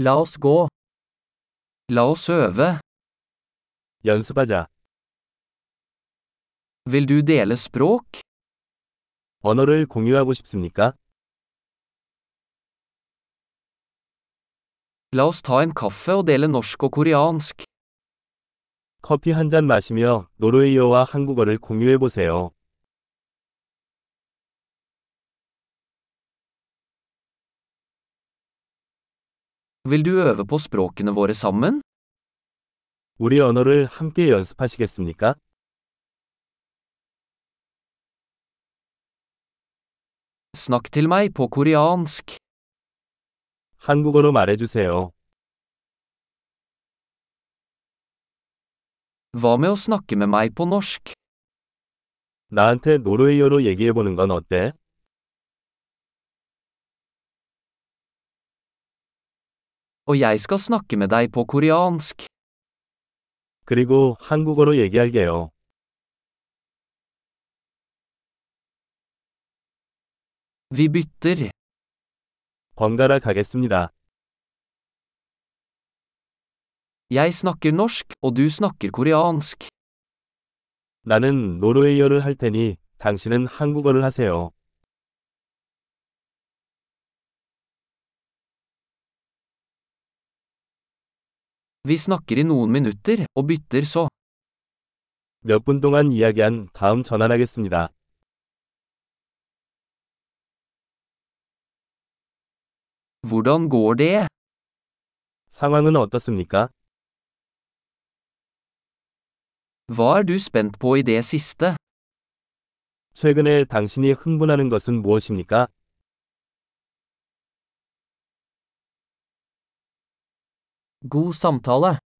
La oss gå. La oss øve. 연습하자. Vil du dele språk? 언어를 공유하고 싶습니까? La oss ta en kaffe og dele norsk og koreansk. 커피 한 잔 마시며 노르웨이어와 한국어를 공유해 보세요. Vil du øve på språkene våre sammen? 우리 언어를 함께 연습하시겠습니까? Snakk til meg på koreansk. 한국어로 말해주세요. Hva med å snakke med meg på norsk? 나한테 노르웨이어로 얘기해 보는 건 어때? Og jeg skal snakke med deg på koreansk. 그리고 한국어로 얘기할게요. Vi bytter. 번갈아 가겠습니다. Jeg snakker norsk, og du snakker koreansk. 나는 노르웨이어를 할 테니 당신은 한국어를 하세요. Vi snakker i noen minutter, og bytter så. 몇 분 동안 이야기한 다음 전환하겠습니다. Hvordan går det? 상황은 어떻습니까? Hva er du spent på i det siste? 최근에 당신이 흥분하는 것은 무엇입니까? God samtale.